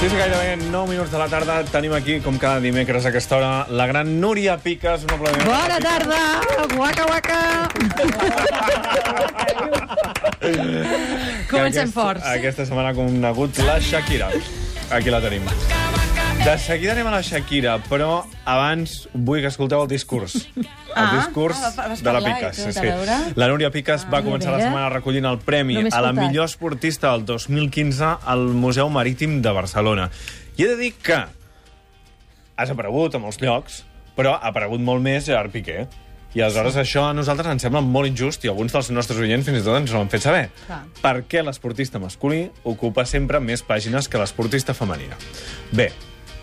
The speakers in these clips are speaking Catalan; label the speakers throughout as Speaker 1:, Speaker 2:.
Speaker 1: Doncs gairebé 9 minuts de la tarda tenim aquí, com cada dimecres a aquesta hora, la gran Núria Piques. Un aplaudiment.
Speaker 2: Bona tarda! Guaca, guaca!
Speaker 1: Que
Speaker 2: Comencem forts.
Speaker 1: Aquesta setmana ha conegut la Shakira. Aquí la tenim. De seguida anem a la Shakira, però abans vull que escolteu el discurs. El
Speaker 2: Ah,
Speaker 1: discurs
Speaker 3: ah, va- vas
Speaker 1: de la
Speaker 3: parlar i
Speaker 1: Piques.
Speaker 3: tot, a veure. Ah,
Speaker 1: La Núria Piques va començar la
Speaker 2: mira.
Speaker 1: setmana recollint el premi
Speaker 2: No m'he
Speaker 1: a la
Speaker 2: escoltat.
Speaker 1: millor esportista del 2015 al Museu Marítim de Barcelona. I he de dir que has aparegut a molts llocs, però ha aparegut molt més Gerard Piqué. I aleshores això a nosaltres ens sembla molt injust i alguns dels nostres oients fins i tot ens ho han fet saber.
Speaker 2: Clar.
Speaker 1: Per què l'esportista masculí ocupa sempre més pàgines que l'esportista femenina? Bé,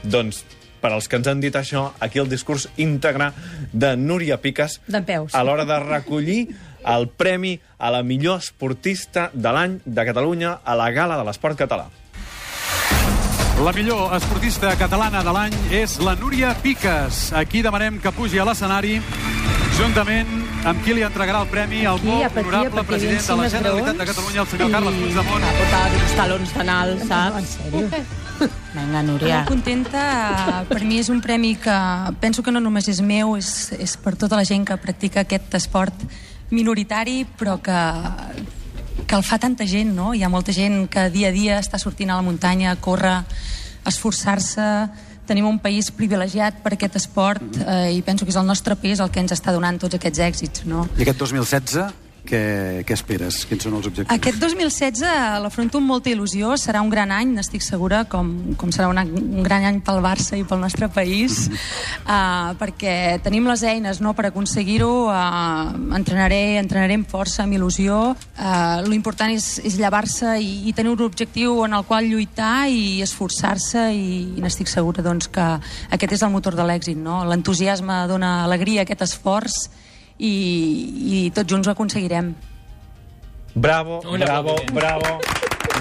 Speaker 1: doncs, per als que ens han dit això, aquí el discurs íntegre de Núria Piques
Speaker 2: D'en peus.
Speaker 1: a l'hora de recollir el premi a la millor esportista de l'any de Catalunya a la gala de l'esport català.
Speaker 4: La millor esportista catalana de l'any és la Núria Piques. Aquí demanem que pugi a l'escenari juntament amb qui li entregarà el premi al
Speaker 2: Aquí,
Speaker 4: molt
Speaker 2: apatia,
Speaker 4: honorable
Speaker 2: perquè
Speaker 4: president de la
Speaker 2: vinguin
Speaker 4: Generalitat
Speaker 2: els
Speaker 4: de
Speaker 2: graons.
Speaker 4: Catalunya, el senyor Carles Puigdemont.
Speaker 3: Una portada d'uns talons tan alt,
Speaker 2: En
Speaker 3: saps?
Speaker 2: sèrio?
Speaker 3: Vinga, Núria.
Speaker 5: Molt contenta. Per mi és un premi que penso que no només és meu, és, és per tota la gent que practica aquest esport minoritari, però que, que el fa tanta gent, no? Hi ha molta gent que dia a dia està sortint a la muntanya, a córrer, a esforçar-se. Tenim un país privilegiat per aquest esport eh, i penso que és el nostre pes el que ens està donant tots aquests èxits, no?
Speaker 6: I aquest 2016, què, què esperes? Quins són els objectius?
Speaker 5: Aquest 2016 l'afronto amb molta il·lusió, serà un gran any, n'estic segura, com, com serà un, any- un gran any pel Barça i pel nostre país, uh, perquè tenim les eines no, per aconseguir-ho, uh, entrenaré, entrenaré amb força, amb il·lusió, uh, l'important és, és llevar-se i, i tenir un objectiu en el qual lluitar i esforçar-se i, i n'estic segura doncs, que aquest és el motor de l'èxit, no? l'entusiasme dona alegria a aquest esforç i, i tots junts ho aconseguirem.
Speaker 1: Bravo,
Speaker 7: Un
Speaker 1: bravo,
Speaker 7: aplaudiment.
Speaker 1: bravo,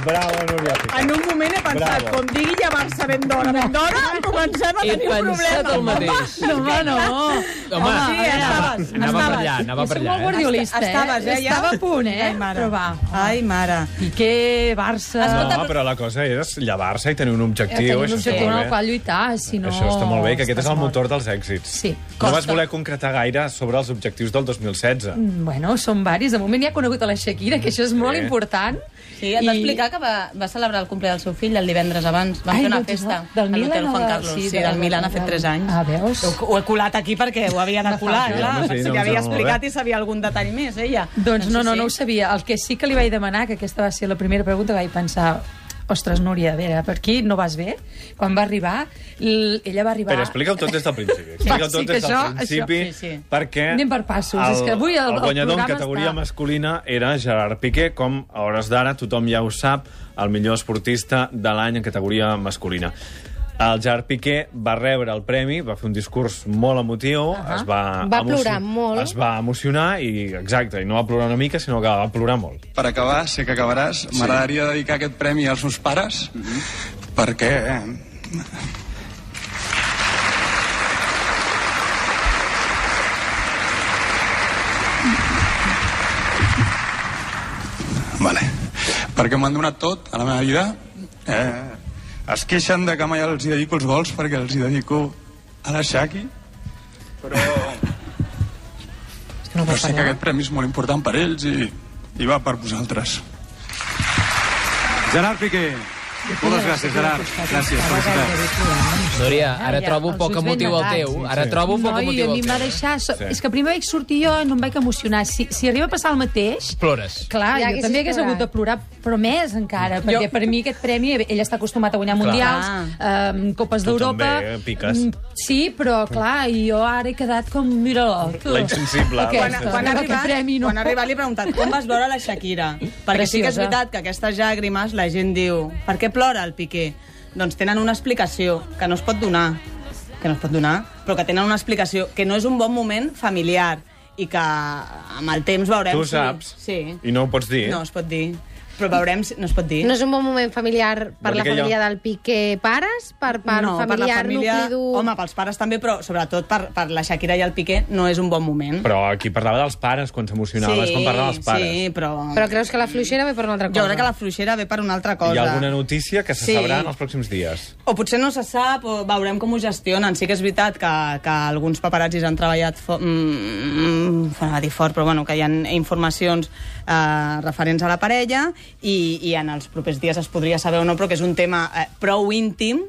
Speaker 1: bravo, Núria Piques.
Speaker 3: En un moment he pensat,
Speaker 1: Bravo.
Speaker 3: com digui llevar-se ben d'hora, ben d'hora, comencem a
Speaker 7: He
Speaker 3: tenir un
Speaker 7: pensat
Speaker 3: problema.
Speaker 7: el mateix.
Speaker 2: No, home, no.
Speaker 7: Home,
Speaker 3: sí,
Speaker 7: anava-
Speaker 3: estaves,
Speaker 7: anava per
Speaker 3: estaves.
Speaker 7: allà, anava
Speaker 2: Jo soc
Speaker 7: per allà.
Speaker 2: molt
Speaker 7: Eh?
Speaker 2: guardiolista, eh?
Speaker 3: Estaves, eh, ja?
Speaker 2: Estava a punt, eh?
Speaker 3: Ai, mare.
Speaker 2: Però va.
Speaker 3: Ai, mare.
Speaker 2: Piqué, Barça...
Speaker 1: No, home, però la cosa és llevar-se i tenir un objectiu.
Speaker 2: Tenir
Speaker 1: això
Speaker 2: un
Speaker 1: està
Speaker 2: objectiu
Speaker 1: molt
Speaker 2: en el
Speaker 1: bé.
Speaker 2: qual lluitar, si no...
Speaker 1: Això està molt bé, que aquest és
Speaker 2: estàs
Speaker 1: el
Speaker 2: mort.
Speaker 1: motor dels èxits.
Speaker 2: Sí,
Speaker 1: No
Speaker 2: costa.
Speaker 1: vas voler concretar gaire sobre els objectius del 2016.
Speaker 2: Mm, Bueno, són varis. De moment ja he conegut a la Shakira, que això és molt
Speaker 1: Sí.
Speaker 2: important.
Speaker 3: Sí, et va explicar que va, va celebrar el cumple del seu fill el divendres abans. Van
Speaker 2: Ai,
Speaker 3: fer una
Speaker 2: no,
Speaker 3: festa
Speaker 2: del
Speaker 3: a l'hotel
Speaker 2: Milan o
Speaker 3: Juan
Speaker 2: del-
Speaker 3: Carlos.
Speaker 2: sí,
Speaker 3: Sí,
Speaker 2: de-
Speaker 3: del Milan ha fet
Speaker 2: del-
Speaker 3: 3 anys.
Speaker 2: Ah, veus?
Speaker 3: Ho he colat aquí perquè ho havia de colar,
Speaker 1: Ah, Sí,
Speaker 3: clar.
Speaker 1: home, sí,
Speaker 3: Sí,
Speaker 1: no,
Speaker 3: que
Speaker 1: em sembla
Speaker 3: havia explicat
Speaker 1: bé.
Speaker 3: i sabia algun detall més, ella.
Speaker 2: Doncs no, no, no ho
Speaker 3: sí.
Speaker 2: sabia. El que sí que li vaig demanar, que aquesta va ser la primera pregunta, vaig pensar... Ostres, Núria, a veure, per aquí no vas bé? Quan va arribar, l- ella va arribar...
Speaker 1: Però explica-ho tot des del principi. Explica-ho tot
Speaker 2: sí, que
Speaker 1: des del
Speaker 2: això-
Speaker 1: principi,
Speaker 3: això- sí, sí.
Speaker 1: perquè...
Speaker 2: Anem per passos,
Speaker 1: El,
Speaker 2: és que avui el-
Speaker 1: el
Speaker 2: el
Speaker 1: guanyador en
Speaker 2: programa
Speaker 1: categoria
Speaker 2: està-
Speaker 1: masculina era Gerard Piqué, com a hores d'ara tothom ja ho sap, el millor esportista de l'any en categoria masculina. El Gerard Piqué va rebre el premi, va fer un discurs molt emotiu, es va...
Speaker 8: Va
Speaker 1: emocio-
Speaker 8: plorar molt.
Speaker 1: Es va emocionar, i exacte, i no va plorar una mica, sinó que va plorar molt.
Speaker 2: Eh,
Speaker 9: Per acabar, sé que acabaràs, sí. m'agradaria dedicar aquest premi als meus pares, mm -hmm. perquè... Vale. Perquè m'han donat tot a la meva vida. Eh, es queixen de que mai els hi dedico els gols perquè els hi dedico a la Shaki, però... Però sé que aquest premi és molt important per ells i, i va per vosaltres.
Speaker 4: Gerard Piqué. Moltes gràcies, Gerard. Gràcies, felicitats.
Speaker 7: Núria,
Speaker 2: Ah,
Speaker 7: ara
Speaker 2: ja,
Speaker 7: trobo
Speaker 2: els
Speaker 7: poc
Speaker 2: ulls ben
Speaker 7: motiu al
Speaker 2: negats.
Speaker 7: teu. Ara trobo poc
Speaker 2: Noi, a
Speaker 7: motiu
Speaker 2: mi
Speaker 7: al
Speaker 2: em va
Speaker 7: teu.
Speaker 2: deixar... So...
Speaker 1: Sí.
Speaker 2: És que primer vaig sortir jo i no em vaig emocionar. Si, si arriba a passar el mateix...
Speaker 7: Plores.
Speaker 2: Clar,
Speaker 8: Ja
Speaker 2: jo
Speaker 8: haguessis
Speaker 2: també hagués
Speaker 8: plorat.
Speaker 2: hagut de plorar, però més encara, perquè per mi aquest premi, ell està acostumat a guanyar mundials, eh,
Speaker 1: Tu
Speaker 2: Copes d'Europa...
Speaker 1: també, eh, piques.
Speaker 2: Mm, Sí, però clar, i jo ara he quedat com, mira-lo. tu.
Speaker 1: La insensible.
Speaker 2: Aquesta,
Speaker 1: Quan-
Speaker 2: quan,
Speaker 1: quan
Speaker 2: quan arriba, premi, no.
Speaker 3: quan ha arribat li he preguntat com vas veure la Shakira. Perquè sí que és
Speaker 2: Preciosa.
Speaker 3: veritat que aquestes llàgrimes la gent diu per què plora el Piqué? Doncs tenen una explicació que no es pot donar, que no es pot donar, però que tenen una explicació que no és un bon moment familiar i que amb el temps veurem...
Speaker 1: Tu ho
Speaker 3: si-
Speaker 1: saps,
Speaker 3: Sí.
Speaker 1: i no ho pots dir.
Speaker 3: No es pot dir. Però veurem si... No es pot dir.
Speaker 8: No és un bon moment familiar per
Speaker 1: Vol dir
Speaker 8: la
Speaker 1: que jo-
Speaker 8: família del Piqué pares, per part
Speaker 3: no, per la
Speaker 8: familiar,
Speaker 3: família,
Speaker 8: nucli dur...
Speaker 3: home, pels pares també, però sobretot per, per la Shakira i el Piqué no és un bon moment.
Speaker 1: Però aquí parlava dels pares, quan s'emocionava, és quan parlava dels pares.
Speaker 3: Sí, però...
Speaker 8: Però creus que la fluixera ve per una altra cosa?
Speaker 3: Jo crec que la fluixera ve per una altra cosa.
Speaker 1: Hi ha alguna notícia que se
Speaker 3: Sí.
Speaker 1: sabrà en els pròxims dies.
Speaker 3: O potser no se sap, o veurem com ho gestionen. Sí que és veritat que, que alguns paparazzis han treballat fo mm, mm, a dir fort, però bueno, que hi ha informacions eh, referents a la parella i, i en els propers dies es podria saber o no, però que és un tema eh, prou íntim.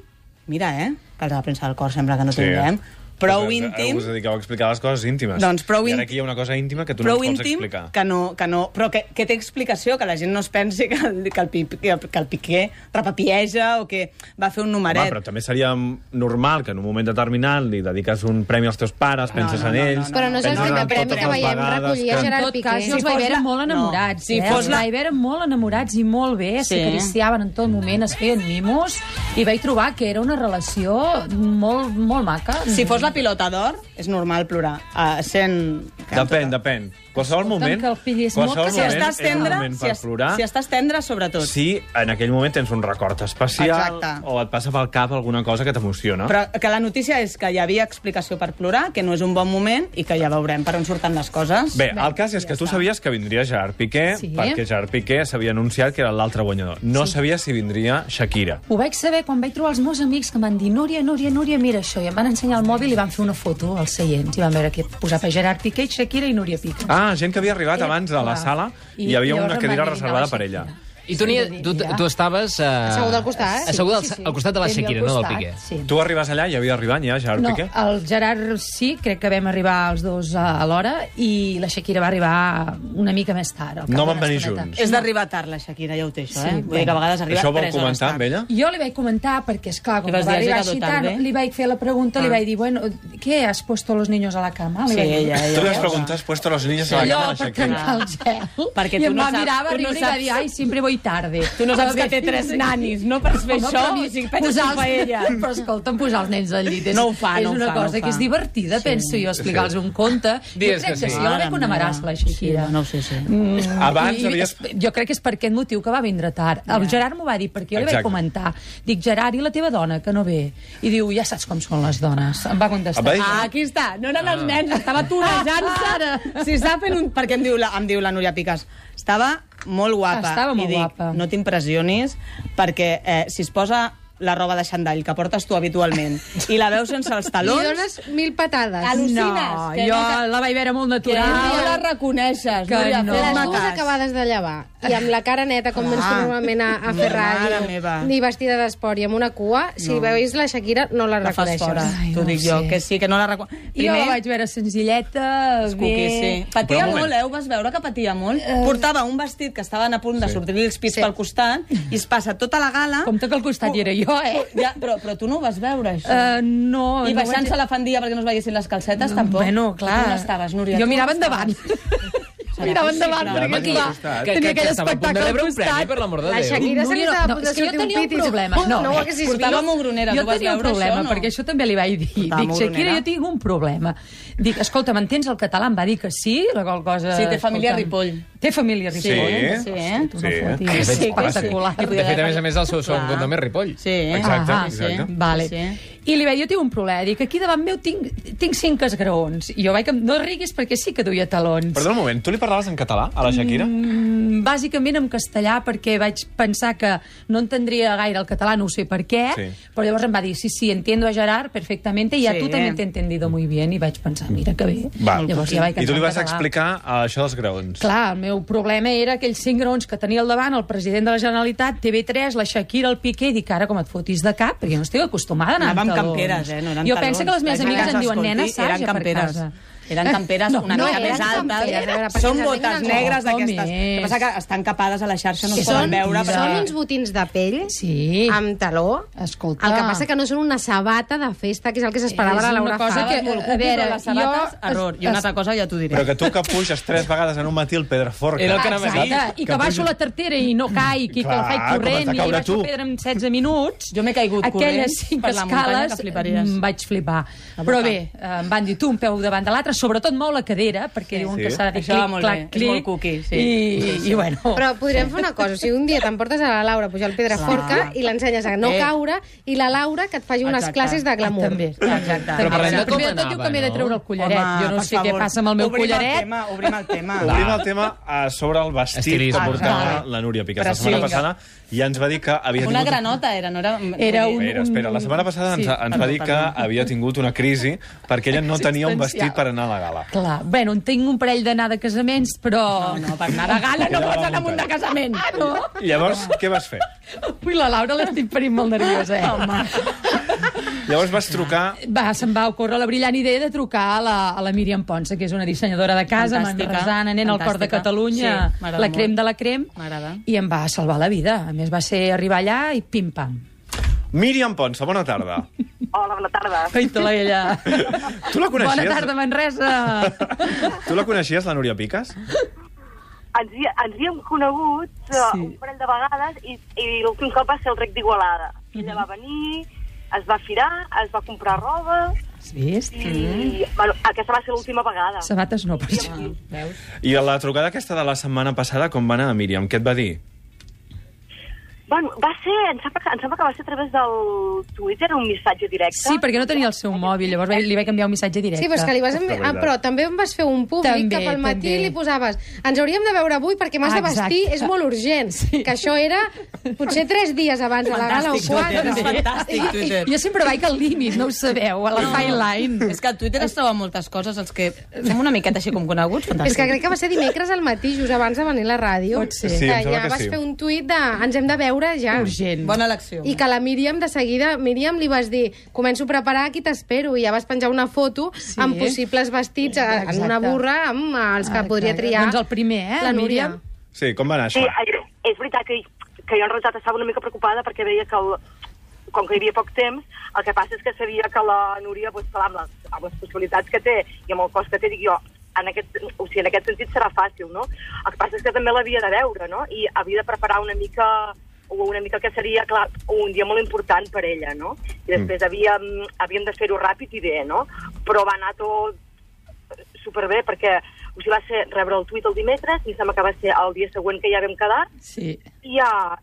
Speaker 3: Mira, eh? Que els de la premsa del cor sembla que no
Speaker 1: Sí.
Speaker 3: tinguem. Prou
Speaker 1: Us-
Speaker 3: íntim.
Speaker 1: Us dediqueu a explicar les coses íntimes.
Speaker 3: Doncs prou
Speaker 1: I ara
Speaker 3: ínt-
Speaker 1: aquí hi ha una cosa íntima que tu no
Speaker 3: prou
Speaker 1: ens pots
Speaker 3: íntim
Speaker 1: explicar.
Speaker 3: que no, que no, però que, que té explicació, que la gent no es pensi que el, que el, Pi- que el, que el Piqué repapieja o que va fer un
Speaker 1: Home,
Speaker 3: numeret.
Speaker 1: però també seria normal que en un moment determinat li dediques un premi als teus pares, penses
Speaker 3: no,
Speaker 1: en
Speaker 3: no, no,
Speaker 1: ells...
Speaker 3: no.
Speaker 8: Però no és el
Speaker 1: penses en
Speaker 8: primer
Speaker 1: totes
Speaker 8: premi que
Speaker 1: les
Speaker 8: veiem
Speaker 1: vegades
Speaker 8: recollir a
Speaker 1: que-
Speaker 8: Gerard
Speaker 2: En tot cas,
Speaker 8: Piqué.
Speaker 3: Si
Speaker 2: els vaig
Speaker 3: fos
Speaker 2: veure
Speaker 3: la-
Speaker 2: molt
Speaker 3: no.
Speaker 2: enamorats.
Speaker 3: Si
Speaker 2: eh?
Speaker 3: fos
Speaker 2: Els
Speaker 3: la-
Speaker 2: vaig veure molt enamorats i molt bé,
Speaker 3: Sí.
Speaker 2: s'acariciaven en tot moment, es feien mimos, i vaig trobar que era una relació molt, molt maca.
Speaker 3: Si fos la pilota d'or, és normal plorar. Uh, sent...
Speaker 1: Depèn, depèn. Qualsevol moment...
Speaker 2: que el fill és molt
Speaker 1: qualsevol
Speaker 2: que
Speaker 3: Si
Speaker 1: moment
Speaker 3: estàs
Speaker 1: és un
Speaker 3: tendre,
Speaker 1: moment
Speaker 3: si,
Speaker 1: per
Speaker 3: es,
Speaker 1: plorar,
Speaker 3: si estàs tendre, sobretot.
Speaker 1: si en aquell moment tens un record especial
Speaker 3: Exacte.
Speaker 1: o et passa pel cap alguna cosa que t'emociona.
Speaker 3: Però que la notícia és que hi havia explicació per plorar, que no és un bon moment i que ja veurem per on surten les coses.
Speaker 1: Bé, el cas és que tu sabies que vindria Gerard Piqué
Speaker 2: Sí.
Speaker 1: perquè Gerard Piqué s'havia anunciat que era l'altre guanyador. No sí. sabies si vindria Shakira.
Speaker 2: Ho vaig saber quan vaig trobar els meus amics que em van dir Núria, Núria, Núria, mira això. I em van ensenyar el mòbil i van fer una foto als seients. I van veure que posava Gerard Piqué, Shakira i Núria Piqué.
Speaker 1: Ah, gent que havia arribat
Speaker 2: Eh,
Speaker 1: abans a la
Speaker 2: clar.
Speaker 1: sala i,
Speaker 2: I
Speaker 1: hi havia
Speaker 2: llavors
Speaker 1: una
Speaker 2: em
Speaker 1: cadira
Speaker 2: van eliminar la
Speaker 1: reservada per ella.
Speaker 2: Shakira.
Speaker 7: I tu, ni, tu, tu estaves... Eh,
Speaker 8: Assegut al costat, eh?
Speaker 7: Assegut al, al costat de la
Speaker 2: Ben bé al
Speaker 7: Shakira, no del
Speaker 2: costat,
Speaker 7: Piqué.
Speaker 2: Sí.
Speaker 1: Tu arribes allà i havia arribat ja Gerard
Speaker 2: No,
Speaker 1: Piqué?
Speaker 2: el Gerard sí, crec que vam arribar els dos a a l'hora i la Shakira va arribar una mica més tard. al cap
Speaker 1: No van
Speaker 2: d'una
Speaker 1: venir
Speaker 2: estoneta. Eh,
Speaker 1: junts.
Speaker 3: És d'arribar tard, la Shakira, ja ho té, això,
Speaker 2: Sí,
Speaker 3: eh? Vull dir
Speaker 2: bueno.
Speaker 3: que a vegades arriba
Speaker 1: Això ho vau
Speaker 3: tres hores
Speaker 1: comentar
Speaker 3: tard.
Speaker 1: amb ella?
Speaker 2: Jo li vaig comentar, perquè, esclar, com
Speaker 3: Li vas
Speaker 2: va
Speaker 3: dir,
Speaker 2: arribar
Speaker 3: "Has llegat
Speaker 2: Xitano,
Speaker 7: eh?"
Speaker 3: tarde".
Speaker 2: li vaig fer la pregunta, li
Speaker 3: Ah.
Speaker 2: vaig dir, bueno, ¿qué, has puesto los niños a la cama? Li
Speaker 3: Sí,
Speaker 2: vaig dir.
Speaker 3: ella,
Speaker 1: Tu
Speaker 3: ella.
Speaker 1: li has preguntat, has puesto los niños a la
Speaker 2: Allò
Speaker 1: cama de
Speaker 2: per
Speaker 1: Shakira.
Speaker 2: trencar el gel.
Speaker 3: Perquè
Speaker 2: I
Speaker 3: tu
Speaker 2: em
Speaker 3: no
Speaker 2: va
Speaker 3: saps-
Speaker 2: mirar, va
Speaker 3: tu no
Speaker 2: riure i va
Speaker 3: saps-
Speaker 2: dir, ai, sempre voy tarde.
Speaker 3: Tu no saps
Speaker 2: A
Speaker 3: que
Speaker 2: veure,
Speaker 3: té tres
Speaker 2: sí.
Speaker 3: nanis, no? Per fer
Speaker 2: No,
Speaker 3: això,
Speaker 2: però
Speaker 3: ni si penses
Speaker 2: posar
Speaker 3: en
Speaker 2: els-
Speaker 3: paella.
Speaker 2: Però escolta'm, posar els nens al llit és,
Speaker 3: No ho fa,
Speaker 2: és
Speaker 3: no ho
Speaker 2: una
Speaker 3: fa,
Speaker 2: cosa
Speaker 3: no ho
Speaker 2: que és
Speaker 3: fa.
Speaker 2: divertida, penso jo, explicar-los un conte.
Speaker 7: Digues
Speaker 2: jo crec
Speaker 7: que
Speaker 2: que,
Speaker 7: sí.
Speaker 2: sí, jo la veig una marassa, la Shakira.
Speaker 3: Sí, no ho sé, sí.
Speaker 2: Mm,
Speaker 1: Abans
Speaker 2: i- i
Speaker 1: havies-
Speaker 2: es- Jo crec que és per aquest motiu que va vindre tard. El Gerard m'ho va dir, perquè jo li vaig
Speaker 1: Exacte.
Speaker 2: comentar. Dic, Gerard, i la teva dona, que no ve? I diu, ja saps com són les dones. Em va contestar.
Speaker 1: Et va dir-
Speaker 3: Ah, aquí està. No eren els nens, estava torejant-se. Si està fent un... Perquè em diu la, em diu la Núria Picas. Estava molt guapa.
Speaker 2: Estava molt
Speaker 3: I dic,
Speaker 2: guapa.
Speaker 3: No t'impressionis, perquè eh, si es posa la roba de xandall que portes tu habitualment i la veus sense els
Speaker 8: Li
Speaker 3: talons...
Speaker 8: dones mil patades.
Speaker 2: no, jo la vaig veure molt
Speaker 8: no la
Speaker 2: natural.
Speaker 3: reconeixes,
Speaker 2: Que Núria, no.
Speaker 8: Les
Speaker 2: Home,
Speaker 8: dues acabades de llevar i amb la cara neta com ens fem normalment a, a fer
Speaker 3: Ah. Mare
Speaker 8: ràdio
Speaker 3: meva.
Speaker 8: ni vestida d'esport i amb una cua si veus la Shakira no la
Speaker 3: La fas fora,
Speaker 8: reconeixes
Speaker 2: Ai,
Speaker 3: t'ho
Speaker 2: no
Speaker 3: dic
Speaker 2: ho
Speaker 3: jo,
Speaker 2: sé.
Speaker 3: que sí, que no la reconeixes.
Speaker 2: Jo la vaig veure senzilleta,
Speaker 3: Cuqui, sí.
Speaker 2: bé...
Speaker 1: Però
Speaker 3: Patia
Speaker 1: un moment.
Speaker 3: molt, eh? Ho vas veure que patia molt?
Speaker 2: Eh.
Speaker 3: Portava un vestit que estaven a punt de sortir-li els pits
Speaker 8: Sí.
Speaker 3: pel costat i es passa tota la gala...
Speaker 2: Compte que al costat hi era jo, eh?
Speaker 3: Ja, però, però tu no ho vas veure, això.
Speaker 2: Uh, no,
Speaker 3: I
Speaker 2: no
Speaker 3: baixant-se
Speaker 2: vaig-
Speaker 3: la fandilla perquè no es veiessin les calcetes, tampoc.
Speaker 2: Bueno, clar.
Speaker 3: Tu on estaves, Núria?
Speaker 2: Jo
Speaker 3: Tu
Speaker 2: mirava
Speaker 3: on estaves?
Speaker 2: endavant. mirava endavant,
Speaker 1: Ja,
Speaker 2: perquè,
Speaker 1: perquè
Speaker 2: clar,
Speaker 1: estava a punt
Speaker 2: tenia
Speaker 7: de
Speaker 2: aquell
Speaker 7: rebre un
Speaker 2: espectacle al
Speaker 7: premi,
Speaker 2: costat.
Speaker 7: per l'amor de
Speaker 8: La
Speaker 7: Déu.
Speaker 8: Shakira se li
Speaker 2: Núria, no,
Speaker 8: estava a punt
Speaker 2: és
Speaker 8: de
Speaker 2: que jo
Speaker 8: sortir un
Speaker 2: tenia un
Speaker 8: pit i dic,
Speaker 2: problema.
Speaker 8: "Oh,
Speaker 2: No,
Speaker 8: no ho haguessis vist".
Speaker 3: Portava moronera,
Speaker 2: jo
Speaker 3: tu vas
Speaker 2: tenia un
Speaker 3: veure això,
Speaker 2: problema,
Speaker 3: no?
Speaker 2: perquè això també li vaig dir.
Speaker 3: Portava
Speaker 2: dic,
Speaker 3: moronera.
Speaker 2: Shakira, jo tinc un problema. Dic, escolta, m'entens el català? Em va dir que sí, la qual cosa...
Speaker 3: Sí, té família
Speaker 2: escolta'm,
Speaker 3: a Ripoll.
Speaker 2: Té família a
Speaker 1: Sí.
Speaker 2: Ripoll.
Speaker 3: Sí, eh?
Speaker 2: Tu no
Speaker 1: Sí.
Speaker 2: fotis.
Speaker 1: Sí,
Speaker 2: És
Speaker 1: sí,
Speaker 2: espectacular.
Speaker 3: sí.
Speaker 7: De fet, a més a més, el seu segon
Speaker 3: Clar.
Speaker 7: cognom és Ripoll.
Speaker 3: Sí, eh?
Speaker 1: Exacte.
Speaker 2: Ah,
Speaker 3: sí.
Speaker 1: exacte.
Speaker 2: Vale.
Speaker 3: Sí.
Speaker 2: I li vaig dir, jo tinc un problema. Dic, aquí davant meu tinc, tinc cinc esgraons. I jo vaig... amb- No riguis perquè sí que duia talons.
Speaker 1: Perdona un moment, tu li parlaves en català a la Shakira?
Speaker 2: Mm, Bàsicament en castellà, perquè vaig pensar que no entendria gaire el català, no ho sé per què,
Speaker 1: Sí.
Speaker 2: sí. però llavors em va dir, sí, sí, entiendo a Gerard perfectamente y a
Speaker 3: Sí.
Speaker 2: tu també t'he entendido muy bien, i vaig pensar, mira que bé.
Speaker 1: Va.
Speaker 2: Llavors ja vaig
Speaker 1: I tu li
Speaker 2: cantar en
Speaker 1: vas
Speaker 2: català.
Speaker 1: explicar eh, això dels graons.
Speaker 2: Clar, el meu problema era aquells cinc graons que tenia al davant el president de la Generalitat, TV3, la Shakira, el Piqué, i dic ara com et fotis de cap, perquè jo no estic acostumada a anar
Speaker 3: Anava
Speaker 2: amb
Speaker 3: amb
Speaker 2: talons.
Speaker 3: camperes, eh? No eren
Speaker 2: jo penso que les meves
Speaker 3: talons.
Speaker 2: amigues em diuen,
Speaker 3: Escolti,
Speaker 2: nena, saja
Speaker 3: eren
Speaker 2: per
Speaker 3: camperes.
Speaker 2: casa.
Speaker 3: Eren camperes
Speaker 2: No,
Speaker 3: una
Speaker 2: no,
Speaker 3: mica
Speaker 2: eren
Speaker 3: més alta.
Speaker 8: camperes, a veure, perquè
Speaker 3: Són
Speaker 8: les
Speaker 3: botes
Speaker 8: negres no.
Speaker 3: negres
Speaker 2: Com
Speaker 3: d'aquestes.
Speaker 2: és?
Speaker 3: El que passa que estan capades a la xarxa, no
Speaker 2: Sí,
Speaker 3: es
Speaker 8: són,
Speaker 3: poden veure.
Speaker 2: mentida.
Speaker 8: són
Speaker 3: Però...
Speaker 8: uns botins de pell
Speaker 2: Sí.
Speaker 8: amb taló
Speaker 2: Escolta.
Speaker 8: el que passa que no són una sabata de festa que és el que s'esperava
Speaker 2: És
Speaker 8: de Laura
Speaker 2: una cosa
Speaker 8: Fabra
Speaker 2: que-
Speaker 8: molt
Speaker 2: a
Speaker 8: cuqui,
Speaker 2: veure,
Speaker 8: però
Speaker 3: les sabates,
Speaker 2: jo-
Speaker 3: error. I una altra cosa ja t'ho diré.
Speaker 1: Però que tu que puges tres vegades en un matí el Pedraforca...
Speaker 7: Era el que anava a dir.
Speaker 2: Exacte, i que baixo la tartera i no caic, i que
Speaker 1: Clar,
Speaker 2: la faig corrent,
Speaker 1: com has de
Speaker 2: i
Speaker 1: caure
Speaker 2: vaig
Speaker 1: tu.
Speaker 2: a pedra en 16 minuts...
Speaker 3: Jo m'he caigut corrent
Speaker 2: Aquelles cinc
Speaker 3: per la muntanya,
Speaker 2: escales
Speaker 3: que fliparies.
Speaker 2: mm, vaig flipar.
Speaker 3: A
Speaker 2: Però
Speaker 3: boca.
Speaker 2: bé, eh, em van dir tu un peu davant de l'altre, sobretot mou la cadera, perquè sí. diuen
Speaker 1: Sí.
Speaker 2: que s'ha de
Speaker 3: Això va
Speaker 2: clic,
Speaker 3: molt
Speaker 2: clac,
Speaker 3: bé, és
Speaker 2: clic.
Speaker 3: molt cuqui, sí.
Speaker 2: I, i, bueno...
Speaker 8: Però podríem fer una cosa, o sigui, un dia t'emportes a la Laura a pujar al Pedraforca i l'ensenyes a no
Speaker 3: Eh.
Speaker 8: caure i la Laura que et faci unes
Speaker 3: Exacte.
Speaker 8: classes de glamour.
Speaker 2: També,
Speaker 3: Exacte.
Speaker 2: exacte.
Speaker 7: Però parlem de com
Speaker 2: primer de tot
Speaker 7: anava,
Speaker 2: diu que m'he de
Speaker 7: no?
Speaker 2: treure el collaret. Home, jo no
Speaker 3: per
Speaker 2: sé què
Speaker 3: favor,
Speaker 2: passa amb el meu
Speaker 3: obrim
Speaker 2: collaret.
Speaker 3: El tema, obrim el tema.
Speaker 1: Obrim el tema a sobre el vestit
Speaker 7: Estilisme.
Speaker 1: que portava
Speaker 3: Ah,
Speaker 1: la Núria Piqué. La
Speaker 3: Però
Speaker 1: setmana
Speaker 3: sí,
Speaker 1: passada ja ens va dir que havia
Speaker 3: Una
Speaker 1: tingut...
Speaker 3: granota era, no era...
Speaker 2: Era un-
Speaker 1: Espera, espera. La setmana passada ens,
Speaker 2: Sí,
Speaker 1: ens va
Speaker 3: perdó,
Speaker 1: dir que
Speaker 3: perdó.
Speaker 1: havia tingut una crisi perquè ella no tenia un vestit per anar a la gala.
Speaker 2: Clar, bueno, en tinc un parell d'anar de casaments, però...
Speaker 3: No, per anar de gala
Speaker 1: Quedava
Speaker 3: no pots anar
Speaker 1: muntat.
Speaker 3: amb un de casament.
Speaker 2: Ah, no?
Speaker 1: Llavors, què vas fer?
Speaker 2: Ui, la Laura l'estic parint molt nerviosa, eh?
Speaker 1: Llavors vas trucar...
Speaker 2: Va, se'm va ocórrer la brillant idea de trucar a la, a la Míriam Ponsa, que és una dissenyadora de casa,
Speaker 3: Fantàstica,
Speaker 2: manresana, nen al cor de
Speaker 3: fantàstica.
Speaker 2: Catalunya,
Speaker 3: Sí, m'agrada
Speaker 2: la crem
Speaker 3: molt.
Speaker 2: de la crem,
Speaker 3: M'agrada.
Speaker 2: i em va salvar la vida. A més, va ser arribar allà i pim-pam.
Speaker 1: Míriam Ponsa, bona tarda.
Speaker 10: Hola, bona tarda.
Speaker 2: Feita-la ella.
Speaker 1: Tu la coneixies?
Speaker 2: Bona tarda, Manresa.
Speaker 1: Tu la coneixies, la Núria Piques?
Speaker 10: Ens, hi- ens hi hem conegut uh,
Speaker 2: Sí.
Speaker 10: sí. un parell de vegades i, i l'últim cop va ser el rec d'Igualada.
Speaker 2: Mhm.
Speaker 10: Ella va venir, es va firar, es va comprar roba
Speaker 2: Has vist?
Speaker 10: i, mm. bueno, aquesta va ser l'última vegada.
Speaker 2: Sabates no, per això.
Speaker 1: I a la trucada aquesta de la setmana passada, com va anar, Míriam? Què et va dir?
Speaker 10: Bueno, va ser, em sembla, que, em sembla que va ser a través del Twitter, un missatge directe.
Speaker 2: Sí, perquè no tenia el seu mòbil, llavors vaig- li vaig enviar un missatge directe.
Speaker 8: Sí, però és que li vas enviar... Ah, però també em vas fer un públic
Speaker 2: També,
Speaker 8: que pel matí
Speaker 2: també.
Speaker 8: li posaves ens hauríem de veure avui perquè m'has de vestir,
Speaker 2: Exacte.
Speaker 8: és molt urgent.
Speaker 2: Sí.
Speaker 8: Que això era potser tres dies abans de la gala o
Speaker 3: Fantàstic,
Speaker 8: quatre.
Speaker 3: Twitter, fantàstic, Twitter.
Speaker 2: Jo sempre vaig al límit, no ho sabeu, a la no. Highline.
Speaker 3: És que al Twitter es troben moltes coses, els que som una miqueta així com coneguts,
Speaker 8: És
Speaker 3: fantàstic.
Speaker 8: que crec que va ser dimecres al matí, just abans de venir a la ràdio.
Speaker 2: Pot ser.
Speaker 1: Sí, em
Speaker 8: que
Speaker 1: sembla
Speaker 8: ja
Speaker 1: que
Speaker 8: vas
Speaker 1: sí.
Speaker 8: fer un tuit de ens hem de veure ja.
Speaker 2: Urgent.
Speaker 3: Bona elecció.
Speaker 8: I que la Míriam de seguida, Míriam li vas dir començo a preparar, aquí t'espero, i ja vas penjar una foto
Speaker 2: Sí.
Speaker 8: sí. amb possibles vestits eh, en
Speaker 2: Exacte.
Speaker 8: una burra amb eh, els que
Speaker 2: Ah,
Speaker 8: podria
Speaker 2: clar.
Speaker 8: triar
Speaker 2: Doncs el primer, eh, la
Speaker 8: la Núria.
Speaker 2: Míriam.
Speaker 1: Sí, com va anar
Speaker 10: Sí,
Speaker 1: això?
Speaker 10: eh, és veritat que, que jo en realitat estava una mica preocupada perquè veia que el, com que hi havia poc temps, el que passa és que sabia que la Núria, doncs, clar, amb, les, amb les possibilitats que té i amb el cost que té, dic jo, en aquest, o sigui, en aquest sentit serà fàcil, no? El que passa és que també l'havia de veure, no? I havia de preparar una mica o una mica que seria, clar, un dia molt important per ella, no? I després havíem, havíem de fer-ho ràpid i bé, no? Però va anar tot superbé perquè o sigui, va ser rebre el tuit el dimecres i em sembla que va ser el dia següent que ja vam quedar
Speaker 2: Sí,
Speaker 10: i, a,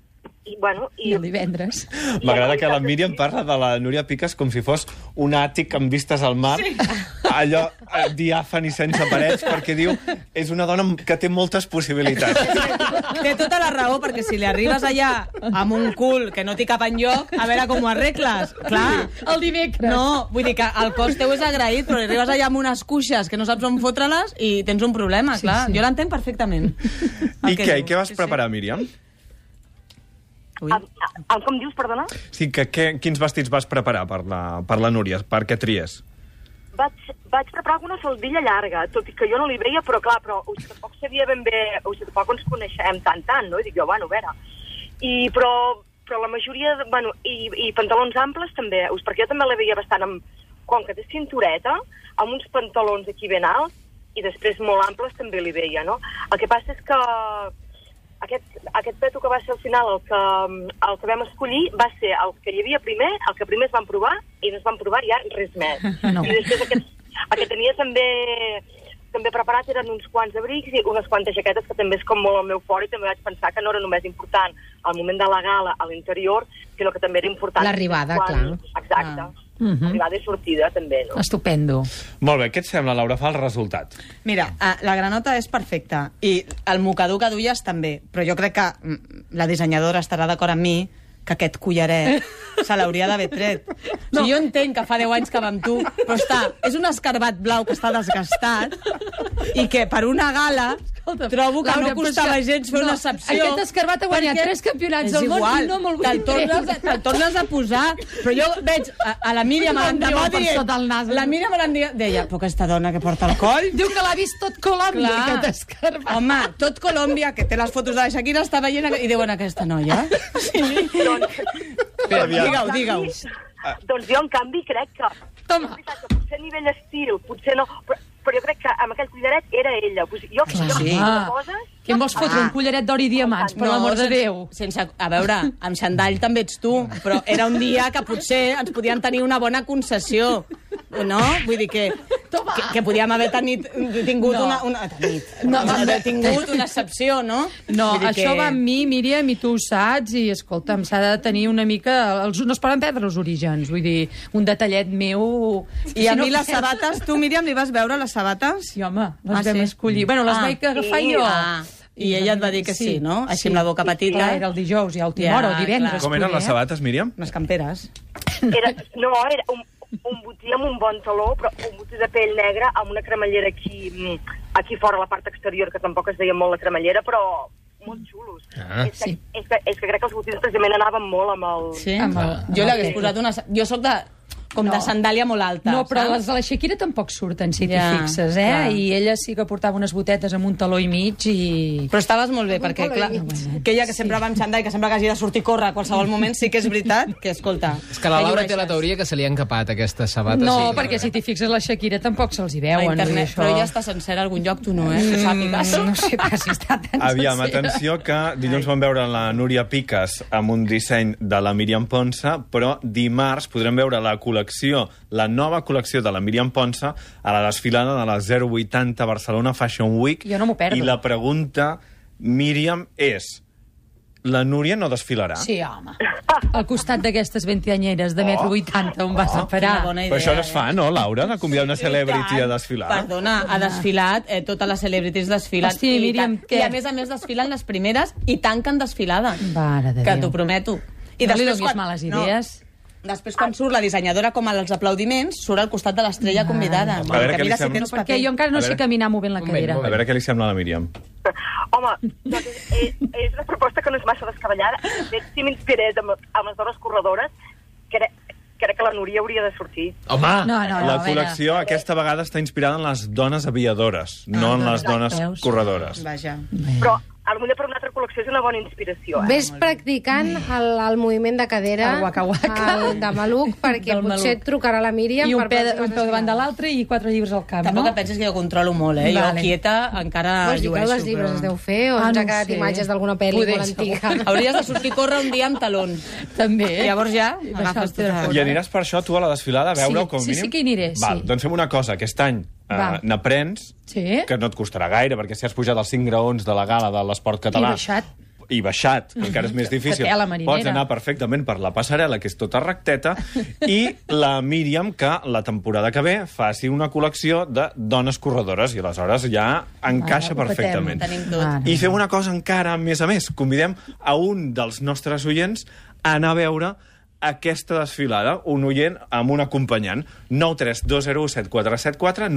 Speaker 10: i bueno...
Speaker 2: i el divendres.
Speaker 1: M'agrada que la Míriam parla de la Núria Piques com si fos un àtic amb vistes al mar, sí. allò eh, diàfan i sense parets, perquè diu és una dona que té moltes possibilitats.
Speaker 3: Té tota la raó, perquè si li arribes allà amb un cul que no t'hi cap enlloc, a veure com ho arregles. Clar.
Speaker 2: El dimecres.
Speaker 3: No, vull dir que el cos teu és agraït, però li arribes allà amb unes cuixes que no saps on fotre-les i tens un problema, clar.
Speaker 2: sí.
Speaker 3: Jo l'entenc perfectament.
Speaker 1: I què? I què vas preparar, Míriam?
Speaker 3: Ui.
Speaker 10: Amb, amb, com dius, perdona?
Speaker 1: Sí, que, que, quins vestits vas preparar per la, per la Núria? Per què tries?
Speaker 10: Vaig, vaig preparar una faldilla llarga, tot i que jo no li veia, però clar, però o sigui, tampoc sabia ben bé, o sigui, tampoc ens coneixem tant, tant, no? I dic jo, bueno, a veure... I, però, però la majoria, de- bueno, i, i pantalons amples també, o sigui, perquè jo també la veia bastant amb, com que té cintureta, amb uns pantalons aquí ben alts, i després molt amples també li veia, no? El que passa és que aquest, aquest peto que va ser al final el que, el que vam escollir va ser el que hi havia primer, el que primer es van provar i no es van provar ja res més.
Speaker 2: No.
Speaker 10: I després aquest, el que tenia també també preparat eren uns quants abrics i unes quantes jaquetes que també és com molt el meu fort i també vaig pensar que no era només important al moment de la gala a l'interior, sinó que també era important...
Speaker 8: L'arribada, clar.
Speaker 10: Exacte. Ah. Mm -hmm. Arribada i sortida, també, no?
Speaker 2: Estupendo.
Speaker 1: Molt bé, què et sembla, Laura? Fa el resultat.
Speaker 3: Mira, eh, la granota és perfecta i el mocador que duies també, però jo crec que mm, la dissenyadora estarà d'acord amb mi que aquest collaret se l'hauria d'haver tret. No. O sigui, jo entenc que fa 10 anys que va amb tu, però està, és un escarbat blau que està desgastat i que per una gala trobo que
Speaker 2: Laura,
Speaker 3: no costava
Speaker 2: però és que-
Speaker 3: gens fer
Speaker 2: no,
Speaker 3: una excepció.
Speaker 2: aquest escarbat ha guanyat
Speaker 3: perquè
Speaker 2: tres campionats
Speaker 3: és
Speaker 2: del món
Speaker 3: igual,
Speaker 2: i no me'l vull
Speaker 3: te'l tornes,
Speaker 2: treure.
Speaker 3: te'l tornes a posar, però jo veig a, a la Míriam
Speaker 2: Em diuen
Speaker 3: l'endemà
Speaker 2: per
Speaker 3: dient...
Speaker 2: sota el nas.
Speaker 3: La Míriam l'endemà deia, però aquesta dona que porta el coll...
Speaker 2: Diu que l'ha vist tot Colòmbia,
Speaker 3: Clar.
Speaker 2: aquest escarbat.
Speaker 3: Home, tot Colòmbia, que té les fotos de la Shakira, està veient aqu- i diuen aquesta noia. Sí.
Speaker 1: Espera,
Speaker 3: Digue-ho, digue-ho.
Speaker 10: Ah. Doncs jo, en canvi, crec que...
Speaker 2: Toma.
Speaker 10: És veritat que potser a nivell estil, potser no, però, però jo crec que amb aquell collaret era ella. O sigui, jo, Clar, jo
Speaker 3: sí.
Speaker 10: de coses...
Speaker 2: Què em vols fotre, un collaret d'or i diamants, per l'amor de
Speaker 3: sense-
Speaker 2: Déu?
Speaker 3: Sense, a veure, amb xandall també ets tu, però era un dia que potser ens podien tenir una bona concessió. no? Vull dir que, que, que podíem haver tenit, tingut
Speaker 2: No.
Speaker 3: una... una tenit,
Speaker 2: No,
Speaker 3: no, haver
Speaker 2: no.
Speaker 3: tingut una excepció, no?
Speaker 2: No,
Speaker 3: Vull dir
Speaker 2: això va amb mi, Míriam, i tu ho saps, i escolta'm, s'ha de tenir una mica... Els, no es poden perdre els orígens, vull dir, un detallet meu...
Speaker 3: I a
Speaker 2: Si no
Speaker 3: mi les
Speaker 2: perds-
Speaker 3: sabates, tu, Míriam, li vas veure les sabates?
Speaker 2: Sí, home, les
Speaker 3: Ah,
Speaker 2: vam
Speaker 3: sí?
Speaker 2: escollir. Bueno, les
Speaker 3: Ah,
Speaker 2: vaig agafar
Speaker 3: sí.
Speaker 2: jo.
Speaker 3: Ah, i ella et va dir que sí, no? Així amb la boca
Speaker 2: I,
Speaker 3: petita.
Speaker 2: clar, era el dijous, ja a última
Speaker 3: Ja,
Speaker 2: hora, o divendres.
Speaker 1: Com eren
Speaker 2: poder.
Speaker 1: les sabates, Míriam?
Speaker 3: Unes camperes.
Speaker 10: Era, no, era un, un botí amb un bon taló, però un botí de pell negra amb una cremallera aquí, mm, aquí fora, a la part exterior, que tampoc es deia molt la cremallera, però molt xulos.
Speaker 7: Ah.
Speaker 10: és, que, és, que, és que crec que els botins precisament anaven molt amb el...
Speaker 3: Sí?
Speaker 2: Amb el- amb
Speaker 3: jo
Speaker 2: el
Speaker 3: l'hagués
Speaker 2: pelo.
Speaker 3: posat una... sa- Jo sóc de, com
Speaker 2: No.
Speaker 3: de sandàlia molt alta.
Speaker 2: No, però
Speaker 3: saps?
Speaker 2: les de la Shakira tampoc surten, si t'hi
Speaker 3: Ja,
Speaker 2: fixes, eh?
Speaker 3: clar.
Speaker 2: I ella sí que portava unes botetes amb un taló i mig i...
Speaker 3: Però estaves molt bé, perquè, clar, que ella que sempre va amb xandall, que sembla que hagi de sortir a córrer a qualsevol moment, sí que és veritat que, escolta...
Speaker 7: És que la Laura té la teoria que se li han capat aquestes sabates.
Speaker 2: No,
Speaker 7: sí.
Speaker 2: perquè si t'hi fixes, la Shakira tampoc se'ls hi
Speaker 3: A
Speaker 2: veuen.
Speaker 3: internet,
Speaker 2: vull dir,
Speaker 3: però
Speaker 2: això.
Speaker 3: ja està sencera a algun lloc, tu no, eh? Que sàpigues.
Speaker 2: Mm, No sé pas si està tan
Speaker 1: Aviam,
Speaker 2: sencera.
Speaker 1: atenció, que dilluns vam veure la Núria Piques amb un disseny de la Míriam Ponsa, però dimarts podrem veure la col·lecció, la nova col·lecció de la Míriam Ponsa a la desfilada de la 080 Barcelona Fashion Week.
Speaker 2: Jo no m'ho perdo.
Speaker 1: I la pregunta, Míriam, és... La Núria no desfilarà?
Speaker 2: Sí, home. Al costat d'aquestes 20 anyeres de metro 80, on vas a parar?
Speaker 3: Quina bona
Speaker 1: Però això no
Speaker 3: idea,
Speaker 2: eh?
Speaker 1: es fa, no, Laura, de convidar una celebrity a desfilar?
Speaker 3: Perdona, ha desfilat, eh, totes les celebrities desfilen.
Speaker 2: Hosti,
Speaker 3: i,
Speaker 2: Míriam,
Speaker 3: tan-
Speaker 2: què?
Speaker 3: I a més a més desfilen les primeres i tanquen desfilada.
Speaker 2: Mare de
Speaker 3: que
Speaker 2: Déu.
Speaker 3: t'ho prometo.
Speaker 2: I no li donis males idees.
Speaker 3: No. Després, quan surt la dissenyadora, com als aplaudiments, surt al costat de l'estrella convidada.
Speaker 1: A veure
Speaker 3: Que
Speaker 1: què li
Speaker 3: mira si
Speaker 1: sembla.
Speaker 3: tens
Speaker 2: Perquè
Speaker 3: paper.
Speaker 2: jo encara no
Speaker 1: A
Speaker 2: sé
Speaker 1: veure.
Speaker 2: caminar movent la
Speaker 7: moment,
Speaker 2: cadera.
Speaker 7: un
Speaker 1: A veure què li sembla a la Míriam.
Speaker 10: Home, doncs és, és, és una proposta que no és massa descabellada. De fet, si m'inspirés amb, amb les dones corredores, crec, crec que la Núria hauria de sortir.
Speaker 7: Home!
Speaker 2: No, no, no,
Speaker 1: la
Speaker 2: a veure.
Speaker 1: col·lecció aquesta vegada està inspirada en les dones aviadores, no en les dones
Speaker 2: Ah, veus?
Speaker 1: corredores.
Speaker 3: Vaja.
Speaker 10: Però, a potser per una altra col·lecció és una bona inspiració, eh?
Speaker 8: Ves practicant el, el moviment de cadera
Speaker 2: El waka-waka.
Speaker 8: el de maluc, perquè
Speaker 2: Del
Speaker 8: potser
Speaker 2: maluc.
Speaker 8: et trucarà la Míriam
Speaker 2: I un
Speaker 8: per
Speaker 2: peu,
Speaker 8: veure si
Speaker 2: un
Speaker 8: vas
Speaker 2: peu davant de
Speaker 8: estirant.
Speaker 2: l'altre i quatre llibres al cap,
Speaker 3: Tampoc
Speaker 2: no?
Speaker 3: et pensis que jo controlo molt, eh?
Speaker 2: Vale.
Speaker 3: Jo quieta encara
Speaker 8: Vols dir que
Speaker 3: llueixo,
Speaker 8: les llibres
Speaker 3: però-
Speaker 8: es deu fer o
Speaker 2: Ah,
Speaker 8: ah, ens
Speaker 2: no
Speaker 8: ha
Speaker 2: ho
Speaker 8: quedat
Speaker 2: sé.
Speaker 8: imatges d'alguna pel·li
Speaker 2: Poder,
Speaker 8: molt antiga?
Speaker 2: segur.
Speaker 3: Hauries de sortir a córrer un dia amb talons.
Speaker 2: També.
Speaker 3: Llavors ja
Speaker 2: I
Speaker 3: agafes
Speaker 2: baixar-te
Speaker 3: tota-
Speaker 2: de fora.
Speaker 1: I aniràs per això tu a la desfilada a veure-ho
Speaker 2: Sí,
Speaker 1: com a
Speaker 2: sí,
Speaker 1: mínim?
Speaker 2: sí que hi aniré, sí.
Speaker 1: Val, doncs fem una cosa, aquest any eh,
Speaker 2: Va.
Speaker 1: n'aprens,
Speaker 2: Sí.
Speaker 1: que no et costarà gaire, perquè si has pujat als 5 graons de la gala de l'esport català...
Speaker 2: I baixat.
Speaker 1: i baixat, que encara és més difícil.
Speaker 2: Que té a la marinera.
Speaker 1: Pots anar perfectament per la passarel·la, que és tota recteta, i la Míriam, que la temporada que ve faci una col·lecció de dones corredores, i aleshores ja encaixa
Speaker 2: ho petem,
Speaker 1: perfectament.
Speaker 3: tenim tot.
Speaker 2: Mare.
Speaker 1: I fem una cosa encara més a més. Convidem a un dels nostres oients a anar a veure aquesta desfilada, un oient amb un acompanyant. 932017474,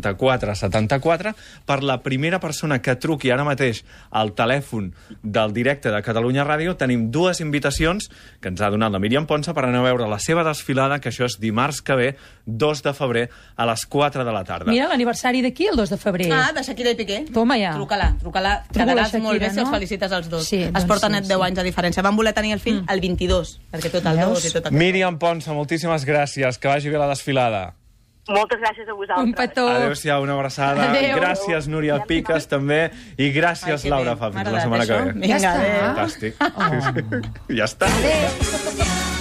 Speaker 1: 932017474, per la primera persona que truqui ara mateix al telèfon del directe de Catalunya Ràdio, tenim dues invitacions que ens ha donat la Míriam Ponsa per anar a veure la seva desfilada, que això és dimarts que ve, 2 de febrer, a les 4 de la tarda.
Speaker 2: Mira l'aniversari d'aquí, el 2 de febrer.
Speaker 3: Ah, de Shakira i Piqué.
Speaker 2: Toma ja.
Speaker 3: Truca-la, truca-la.
Speaker 2: Truco la
Speaker 3: Quedaràs
Speaker 2: Shakira,
Speaker 3: molt bé si
Speaker 2: no?
Speaker 3: els felicites els dos.
Speaker 2: Sí, doncs
Speaker 3: es porten
Speaker 2: sí,
Speaker 3: net
Speaker 2: sí. Mm.
Speaker 3: 10 anys de diferència. Van voler tenir el fill el 22, perquè tot el
Speaker 2: Veus?
Speaker 3: 2 i tot el...
Speaker 1: Míriam Ponsa, moltíssimes gràcies. Que vagi bé la desfilada.
Speaker 10: Moltes gràcies a vosaltres.
Speaker 2: Un petó.
Speaker 1: Adéu-siau, una abraçada.
Speaker 2: Adéu.
Speaker 1: Gràcies, Núria Piques, també. I gràcies,
Speaker 3: Ai, que
Speaker 1: Laura
Speaker 3: bé.
Speaker 1: Fa. Fins
Speaker 3: M'ha
Speaker 1: la setmana
Speaker 3: agradat,
Speaker 1: que ve.
Speaker 3: això. Vinga,
Speaker 2: Ja està.
Speaker 3: adéu.
Speaker 1: Fantàstic. Oh. Ja està.